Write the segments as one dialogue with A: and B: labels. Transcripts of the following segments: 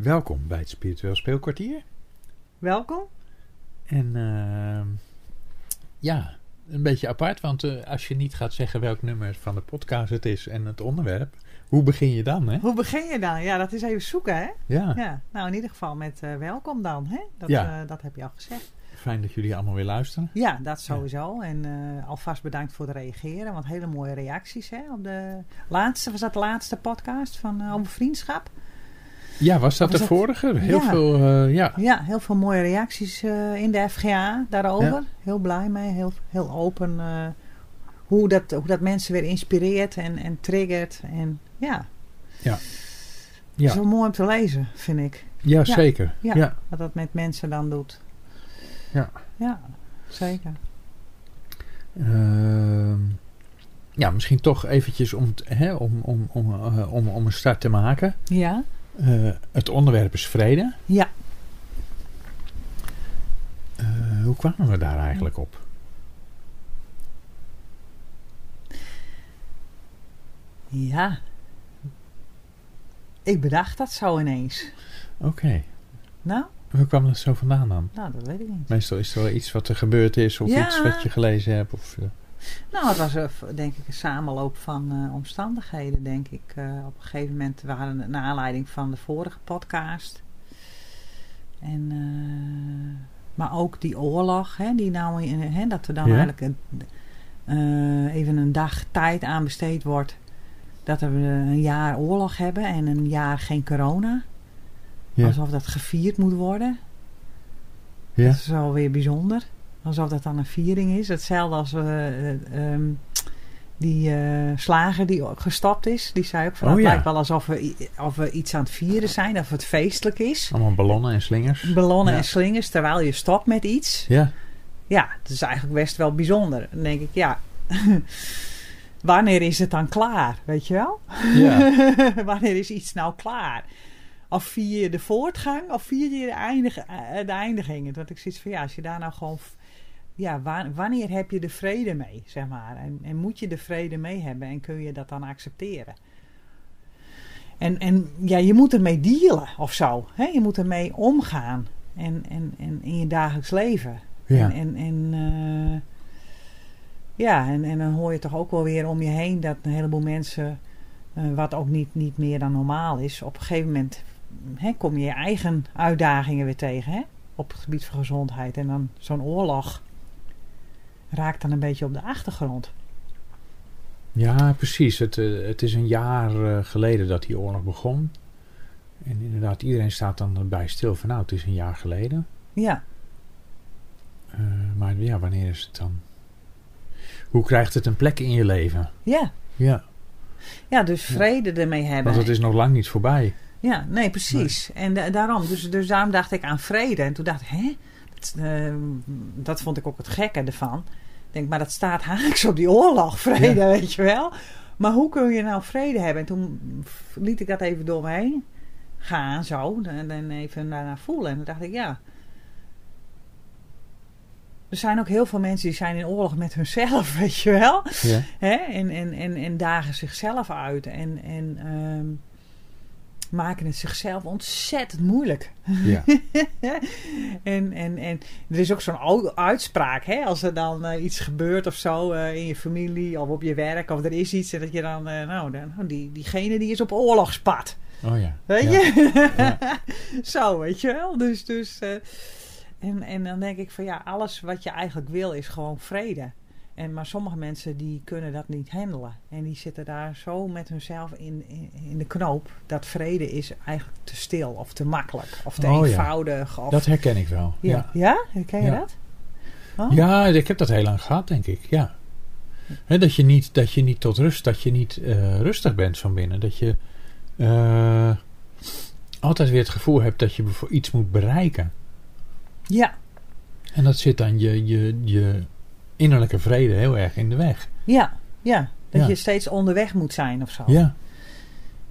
A: Welkom bij het Spiritueel Speelkwartier.
B: Welkom.
A: En ehm, ja, een beetje apart, want eh, als je niet gaat zeggen welk nummer van de podcast het is en het onderwerp, hoe begin je dan, hè?
B: Hoe begin je dan? Ja, dat is even zoeken, hè?
A: Ja,
B: Ja, nou in ieder geval met eh, welkom dan, hè? Dat,
A: Ja.
B: eh, dat heb je al gezegd.
A: fijn dat jullie allemaal weer luisteren.
B: Ja, dat sowieso. En eh, alvast bedankt voor het reageren, want hele mooie reacties, hè? Op de laatste, was dat de laatste podcast van, eh, over vriendschap?
A: Ja, was dat
B: Was
A: de
B: dat-
A: vorige? Heel
B: Ja.
A: veel, eh, ja.
B: Ja, heel veel mooie reacties eh, in de FGA daarover. Heel blij mee, heel, heel open eh, hoe, dat, hoe dat mensen weer inspireert en, en triggert. En ja,
A: Ja.
B: ja.
A: Ja.
B: zo mooi om te lezen, vind ik.
A: ja, zeker.
B: Ja.
A: ja.
B: Wat dat met mensen dan doet.
A: Ja.
B: Ja, zeker.
A: Ehm, ja, misschien toch eventjes om, t- hè, om, om, om, eh, om, om een start te maken.
B: Ja?
A: Eh, het onderwerp is vrede.
B: Ja.
A: Eh, hoe kwamen we daar eigenlijk op?
B: Ja. Ik bedacht dat zo ineens.
A: Oké,
B: Nou,
A: hoe kwam dat zo vandaan dan?
B: nou dat weet ik niet.
A: Meestal is er wel iets wat er gebeurd is of
B: Ja.
A: iets wat je gelezen hebt. Of, eh,
B: Nou, het was eh, v- denk ik een samenloop van eh, omstandigheden, denk ik. Eh, op een gegeven moment, we hadden het naar aanleiding van de vorige podcast. En, eh, maar ook die oorlog, hè, die nou in, hè, dat er dan
A: Ja.
B: eigenlijk een, eh, even een dag tijd aan besteed wordt. Dat we eh, een jaar oorlog hebben en een jaar geen corona.
A: Ja.
B: Alsof dat gevierd moet worden.
A: ja.
B: Dat is wel weer bijzonder. Alsof dat dan een viering is. Hetzelfde als eh, eh, ehm, die eh, slager die gestapt is. Die zei ook van
A: Oh
B: het
A: ja.
B: lijkt wel alsof we, i- of we iets aan het vieren zijn. Of het feestelijk is.
A: Allemaal ballonnen en slingers.
B: Ballonnen
A: Ja.
B: en slingers terwijl je stopt met iets.
A: Ja,
B: Ja, dat is eigenlijk best wel bijzonder. Dan denk ik, ja... Wanneer is het dan klaar, weet je wel?
A: ja.
B: Wanneer is iets nou klaar? Of vier je de voortgang of vier je de, eindig, eh, de eindigingen? Want ik zoiets van ja, als je daar nou gewoon. v- Ja, wa- wanneer heb je de vrede mee, zeg maar? En, en moet je de vrede mee hebben en kun je dat dan accepteren? En, en ja, je moet ermee dealen of zo. Hè? Je moet ermee omgaan. En, en, en in je dagelijks leven.
A: ja.
B: En, en, en, eh, ja, en, en dan hoor je toch ook wel weer om je heen dat een heleboel mensen, eh, wat ook niet, niet meer dan normaal is, op een gegeven moment hè, kom je je eigen uitdagingen weer tegen. Hè? Op het gebied van gezondheid. En dan zo'n oorlog raakt dan een beetje op de achtergrond.
A: Ja, precies. Het, eh, het is een jaar eh, geleden dat die oorlog begon. En inderdaad, iedereen staat dan erbij stil van nou, het is een jaar geleden.
B: Ja,
A: Eh, maar ja, wanneer is het dan? Hoe krijgt het een plek in je leven?
B: ja.
A: Ja,
B: ja dus vrede ermee hebben.
A: want het is nog lang niet voorbij.
B: Ja, nee, precies. En da- daarom, dus, dus daarom dacht ik aan vrede. En toen dacht ik, hè? Dat, eh, dat vond ik ook het gekke ervan. Ik denk, maar dat staat haaks op die oorlog, vrede,
A: Ja.
B: weet je wel. Maar hoe kun je nou vrede hebben? En toen f- liet ik dat even door me heen gaan, zo. En, en even daarna voelen. En toen dacht ik, ja. Er zijn ook heel veel mensen die zijn in oorlog met hunzelf, weet je wel.
A: Ja,
B: Hè? En, en, en, en dagen zichzelf uit. En, en ehm, maken het zichzelf ontzettend moeilijk.
A: ja.
B: en, en, en er is ook zo'n ou- uitspraak. Hè? Als er dan eh, iets gebeurt of zo eh, in je familie of op je werk. Of er is iets. En dat je dan... eh, nou, dan, nou, die, diegene die is op oorlogspad.
A: Oh ja.
B: Weet
A: ja.
B: je?
A: Ja.
B: Zo, weet je wel. Dus, dus, eh, en, en dan denk ik van ja, alles wat je eigenlijk wil is gewoon vrede. En, maar sommige mensen die kunnen dat niet handelen. En die zitten daar zo met hunzelf in, in, in de knoop. Dat vrede is eigenlijk te stil of te makkelijk. Of te
A: Oh ja.
B: eenvoudig. Of,
A: Dat herken ik wel.
B: ja.
A: Ja.
B: Ja. herken je
A: Ja.
B: dat?
A: Ja, ik heb dat heel lang gehad, denk ik. Ja. Hè, dat, je niet, dat je niet tot rust, dat je niet eh, rustig bent van binnen. Dat je eh, altijd weer het gevoel hebt dat je bevo- iets moet bereiken.
B: Ja,
A: En dat zit dan je, je, je innerlijke vrede heel erg in de weg.
B: ja, ja. Dat
A: Ja. Oh.
B: je steeds onderweg moet zijn of zo.
A: Ja,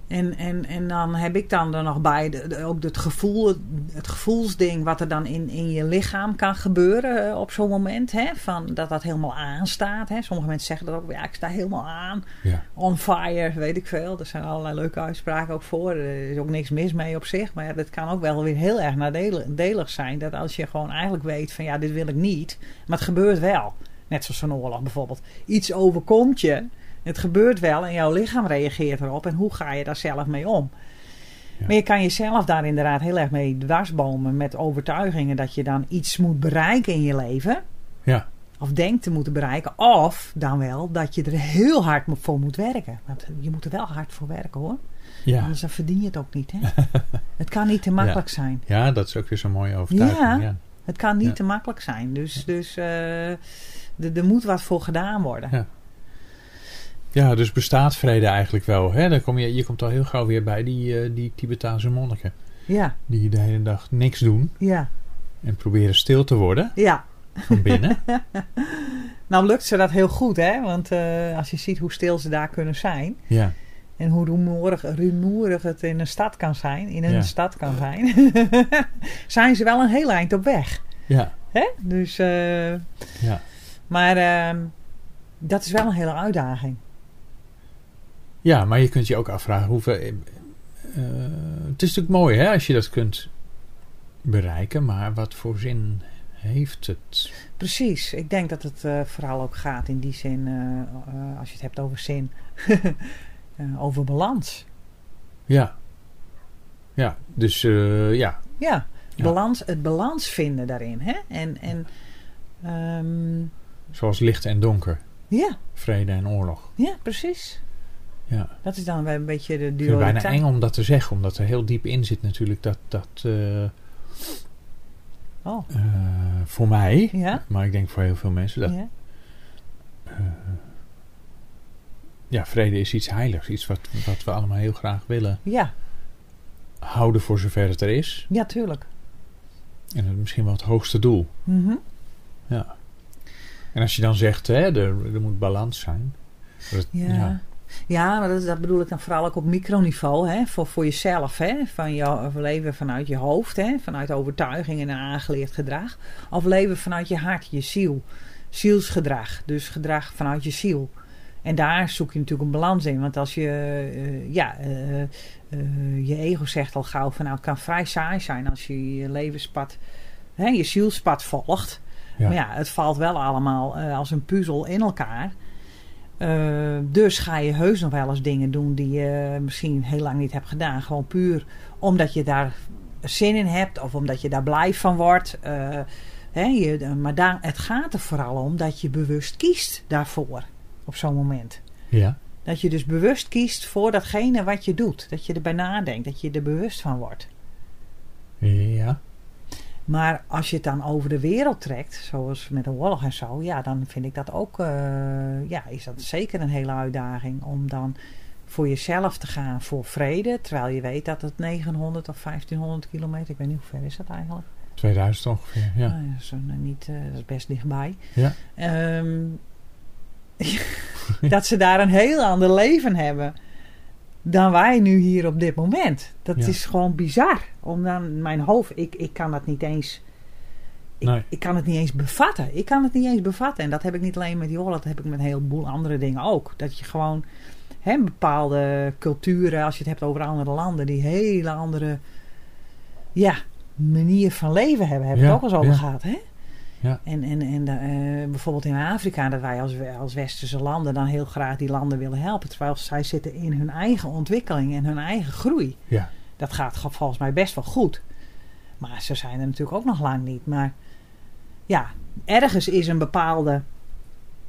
B: En, en, en dan heb ik dan er nog bij de- de- ook het gevoel, het, gevoelsding wat er dan in, in je lichaam kan gebeuren eh, op zo'n moment. Hè? Van dat dat helemaal aanstaat. Hè? Sommige mensen zeggen dat ook, ja ik sta helemaal aan,
A: Ja.
B: on fire, weet ik veel. Er zijn allerlei leuke uitspraken ook voor. Er is ook niks mis mee op zich. Maar ja, dat kan ook wel weer heel erg nadelig zijn. Dat als je gewoon eigenlijk weet van ja dit wil ik niet, maar het gebeurt wel. Net zoals zo'n oorlog bijvoorbeeld. Iets overkomt je. Het gebeurt wel en jouw lichaam reageert erop. En hoe ga je daar zelf mee om?
A: Ja.
B: Maar je kan jezelf daar inderdaad heel erg mee dwarsbomen met overtuigingen dat je dan iets moet bereiken in je leven.
A: Ja.
B: Of denkt te moeten bereiken. Of dan wel dat je er heel hard mo- voor moet werken. Want je moet er wel hard voor werken hoor.
A: Ja.
B: Anders dan verdien je het ook niet. Hè? het kan niet te makkelijk zijn.
A: ja, dat is ook weer zo'n mooie overtuiging. Ja.
B: Het kan niet
A: Ja.
B: te makkelijk zijn. Dus, dus eh, er er moet wat voor gedaan worden.
A: Ja. Ja, dus bestaat vrede eigenlijk wel. Hè? Daar kom je, je komt al heel gauw weer bij die, eh, die Tibetaanse monniken.
B: Ja,
A: Die de hele dag niks doen
B: ja,
A: en proberen stil te worden
B: ja.
A: van binnen.
B: Nou lukt ze dat heel goed, hè? Want eh, als je ziet hoe stil ze daar kunnen zijn.
A: ja.
B: En hoe rumoerig, rumoerig het in een stad kan zijn. In een
A: Ja.
B: stad kan zijn. zijn ze wel een heel eind op weg.
A: Ja.
B: Hè? Dus, eh,
A: Ja.
B: maar ehm, dat is wel een hele uitdaging.
A: ja, maar je kunt je ook afvragen hoeveel... eh, eh, het is natuurlijk mooi hè, als je dat kunt bereiken. Maar wat voor zin heeft het?
B: Precies. Ik denk dat het eh, vooral ook gaat in die zin. eh, eh, als je het hebt over zin. eh, over balans.
A: Ja. Ja, dus eh, ja.
B: Ja,
A: Ja.
B: Balans, het balans vinden daarin. Hè? En, en ehm,
A: Zoals licht en donker.
B: ja,
A: Vrede en oorlog.
B: ja, precies.
A: Ja.
B: Dat is dan weer een beetje de
A: Ik vind het bijna
B: dualiteit.
A: eng om dat te zeggen, omdat er heel diep in zit natuurlijk dat, dat eh, eh,
B: Oh,
A: voor mij,
B: ja.
A: maar ik denk voor heel veel mensen, dat
B: ja.
A: ja, vrede is iets heiligs. Iets wat, wat we allemaal heel graag willen
B: Ja,
A: houden voor zover het er is.
B: ja, tuurlijk.
A: En dat is misschien wel het hoogste doel.
B: Mhm.
A: En als je dan zegt, hè, er, er moet balans zijn. Dat-
B: ja.
A: ja.
B: ja. maar dat, dat bedoel ik dan vooral ook op microniveau, hè? Voor, voor jezelf, hè? Van jouw of leven vanuit je hoofd, hè? Vanuit overtuigingen en aangeleerd gedrag. Of leven vanuit je hart, je ziel. Zielsgedrag, dus gedrag vanuit je ziel. En daar zoek je natuurlijk een balans in. Want als je, eh, ja, eh, eh, je ego zegt al gauw van nou, het kan vrij saai zijn als je je levenspad, hè, je zielspad volgt.
A: Ja.
B: Maar ja, het valt wel allemaal eh, als een puzzel in elkaar. Eh, dus ga je heus nog wel eens dingen doen die je misschien heel lang niet hebt gedaan. Gewoon puur omdat je daar zin in hebt of omdat je daar blij van wordt. Eh, hè, je, maar daar, het gaat er vooral om dat je bewust kiest daarvoor op zo'n moment.
A: Ja.
B: Dat je dus bewust kiest voor datgene wat je doet. Dat je erbij nadenkt, dat je er bewust van wordt.
A: Ja.
B: Maar als je het dan over de wereld trekt, zoals met een oorlog en zo, ja, dan vind ik dat ook, eh, ja, is dat zeker een hele uitdaging om dan voor jezelf te gaan voor vrede, terwijl je weet dat het 900 of 1500 kilometer, ik weet niet hoe ver is dat eigenlijk.
A: 2000 ongeveer. Ja.
B: Nou, dat, is, eh, niet, eh, dat is best dichtbij.
A: Ja.
B: Ehm, dat ze daar een heel ander leven hebben dan wij nu hier op dit moment. Dat
A: Ja.
B: is gewoon bizar. Om dan mijn hoofd, ik, ik kan dat niet eens. Ik,
A: Nee.
B: ik kan het niet eens bevatten. Ik kan het niet eens bevatten. En dat heb ik niet alleen met die oorlog, dat heb ik met een heleboel andere dingen ook. Dat je gewoon hè, bepaalde culturen, als je het hebt over andere landen, die hele andere ja, manier van leven hebben. Hebben we
A: Ja,
B: het ook al eens over
A: ja.
B: gehad, hè?
A: Ja.
B: En, en, en eh, bijvoorbeeld in Afrika, dat wij als, als westerse landen dan heel graag die landen willen helpen. Terwijl zij zitten in hun eigen ontwikkeling en hun eigen groei.
A: Ja.
B: Dat gaat ge- volgens mij best wel goed. Maar ze zijn er natuurlijk ook nog lang niet. Maar ja, ergens is een bepaalde.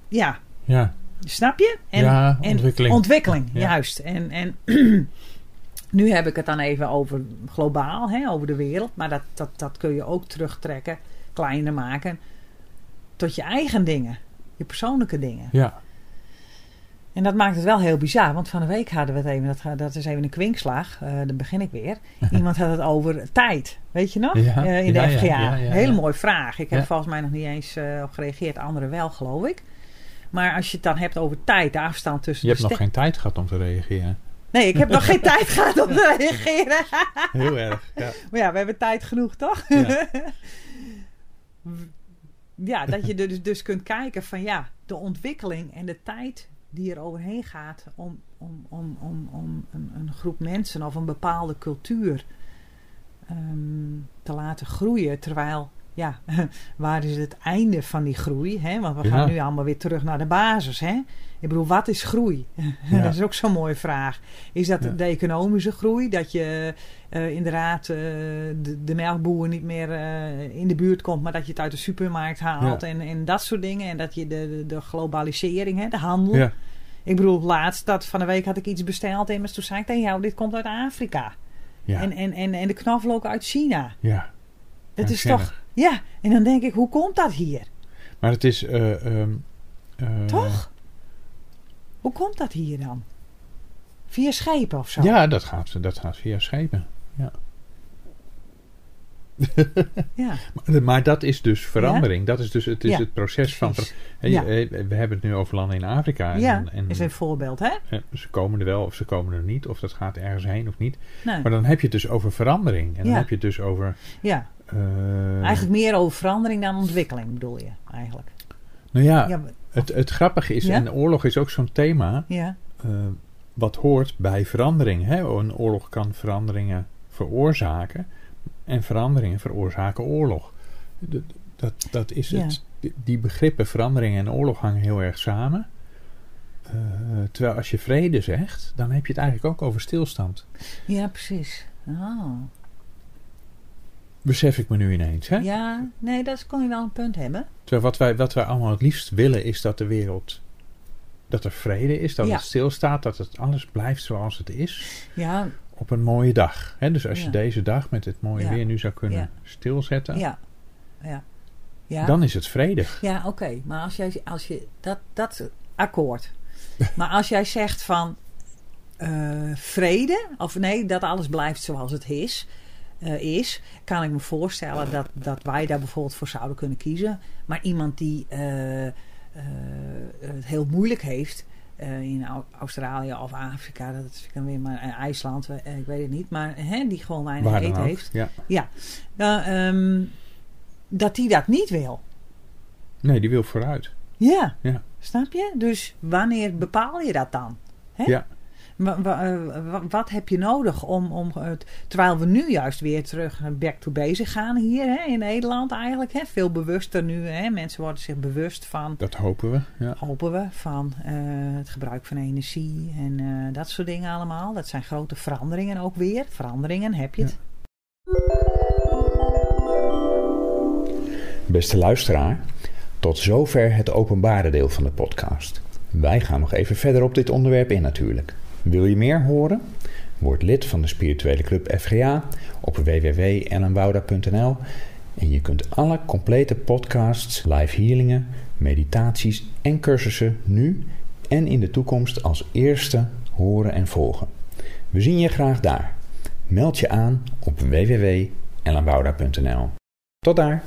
B: Ja,
A: Ja.
B: snap je? En,
A: ja,
B: en
A: ontwikkeling.
B: Ontwikkeling,
A: Ja.
B: juist. En, en nu heb ik het dan even over globaal, hè, over de wereld. Maar dat, dat, dat kun je ook terugtrekken, kleiner maken. Tot je eigen dingen, je persoonlijke dingen.
A: ja.
B: En dat maakt het wel heel bizar. Want van de week hadden we het even, dat, ga- dat is even een kwinkslag. eh daar begin ik weer. Iemand had het over tijd, weet je nog?
A: Ja,
B: Eh, in de
A: ja, ja,
B: FGA.
A: ja, ja,
B: Hele
A: ja.
B: mooie vraag. Ik heb
A: Ja.
B: volgens mij nog niet eens eh, op gereageerd. Anderen wel, geloof ik. Maar als je het dan hebt over tijd, de afstand tussen
A: Je hebt
B: de
A: nog
B: ster-
A: geen tijd gehad om te reageren.
B: Nee, ik heb nog geen tijd gehad om te reageren.
A: Heel erg. Ja.
B: Maar ja, we hebben tijd genoeg, toch?
A: Ja.
B: Ja, dat je er dus, dus kunt kijken van ja, de ontwikkeling en de tijd die er overheen gaat om, om, om, om, om een, een groep mensen of een bepaalde cultuur ehm, te laten groeien. Terwijl, ja, waar is het einde van die groei? Hè? Want we gaan
A: Ja.
B: nu allemaal weer terug naar de basis. Hè? Ik bedoel, wat is groei?
A: Ja.
B: dat is ook zo'n mooie vraag. Is dat
A: Ja.
B: de economische groei? Dat je eh, inderdaad eh, de, de melkboer niet meer eh, in de buurt komt, maar dat je het uit de supermarkt haalt en, en dat soort dingen. En dat je de, de, de globalisering, hè, de handel.
A: Ja.
B: Ik bedoel, laatst dat van de week had ik iets besteld, immers toen zei ik tegen jou, dit komt uit Afrika.
A: Ja.
B: En, en, en, en de knoflook uit China.
A: ja.
B: Dat
A: Ja,
B: is
A: zinnig.
B: toch. Ja, en dan denk ik, hoe komt dat hier?
A: Maar het is... eh, ehm, eh,
B: Toch? Hoe komt dat hier dan? Via schepen of zo?
A: Ja, dat gaat, dat gaat via schepen.
B: Ja.
A: Maar, maar dat is dus verandering. Dat is dus het, is
B: Ja,
A: het proces van... ver-
B: precies.
A: Hey,
B: Ja.
A: hey, we hebben het nu over landen in Afrika. En,
B: Ja,
A: en,
B: is een voorbeeld, hè?
A: eh, ze komen er wel of ze komen er niet. Of dat gaat ergens heen of niet.
B: Nee.
A: Maar dan heb je het dus over verandering. En dan
B: Ja.
A: heb je het dus over...
B: Ja,
A: eh,
B: eigenlijk meer over verandering dan ontwikkeling bedoel je eigenlijk.
A: Nou ja,
B: Ja, we-
A: Het, het grappige is,
B: Ja?
A: en oorlog is ook zo'n thema...
B: ja,
A: eh, wat hoort bij verandering. Hè? Een oorlog kan veranderingen veroorzaken. En veranderingen veroorzaken oorlog. D- dat, dat is
B: Ja.
A: het. Die- Die begrippen verandering en oorlog hangen heel erg samen. Eh, terwijl als je vrede zegt, dan heb je het eigenlijk ook over stilstand.
B: ja precies. Oh.
A: Besef ik me nu ineens. Hè?
B: Ja, nee, dat kon je wel een punt hebben.
A: Terwijl wat wij, wat wij allemaal het liefst willen is dat de wereld. dat er vrede is, dat
B: Ja.
A: het stilstaat, dat het alles blijft zoals het is.
B: Ja,
A: op een mooie dag. Hè? Dus als je
B: Ja.
A: deze dag met het mooie
B: Ja.
A: weer nu zou kunnen
B: Ja.
A: stilzetten,
B: ja, ja. Ja,
A: dan is het vredig.
B: ja oké. Maar als jij, als je, dat, dat akkoord. Maar als jij zegt van eh, vrede, of nee, dat alles blijft zoals het is, eh, is, kan ik me voorstellen dat, dat wij daar bijvoorbeeld voor zouden kunnen kiezen. Maar iemand die eh, eh, het heel moeilijk heeft eh, in Au- Australië of Afrika, dat vind ik dan weer maar eh, IJsland, eh, ik weet het niet, maar hè, die gewoon weinig
A: Waar dan
B: eten
A: ook.
B: heeft,
A: Ja.
B: dan, ehm, dat die dat niet wil.
A: Nee, die wil vooruit.
B: Ja.
A: Ja.
B: Snap je? Dus wanneer bepaal je dat dan? Hè?
A: Ja.
B: Wa- wa- eh, wa- wat heb je nodig om, om het, terwijl we nu juist weer terug eh, back to basic gaan hier hè, in Nederland eigenlijk. Hè, veel bewuster nu. Hè, mensen worden zich bewust van,
A: Dat hopen we. Ja.
B: hopen we, van eh, het gebruik van energie en eh, dat soort dingen allemaal. Dat zijn grote veranderingen ook weer. Veranderingen heb je het.
C: Beste luisteraar, tot zover het openbare deel van de podcast. Wij gaan nog even verder op dit onderwerp in natuurlijk. Wil je meer horen? Word lid van de spirituele club FGA op www.ellenwouda.nl en je kunt alle complete podcasts, live healingen, meditaties en cursussen nu en in de toekomst als eerste horen en volgen. We zien je graag daar. Meld je aan op www.ellenwouda.nl. Tot daar!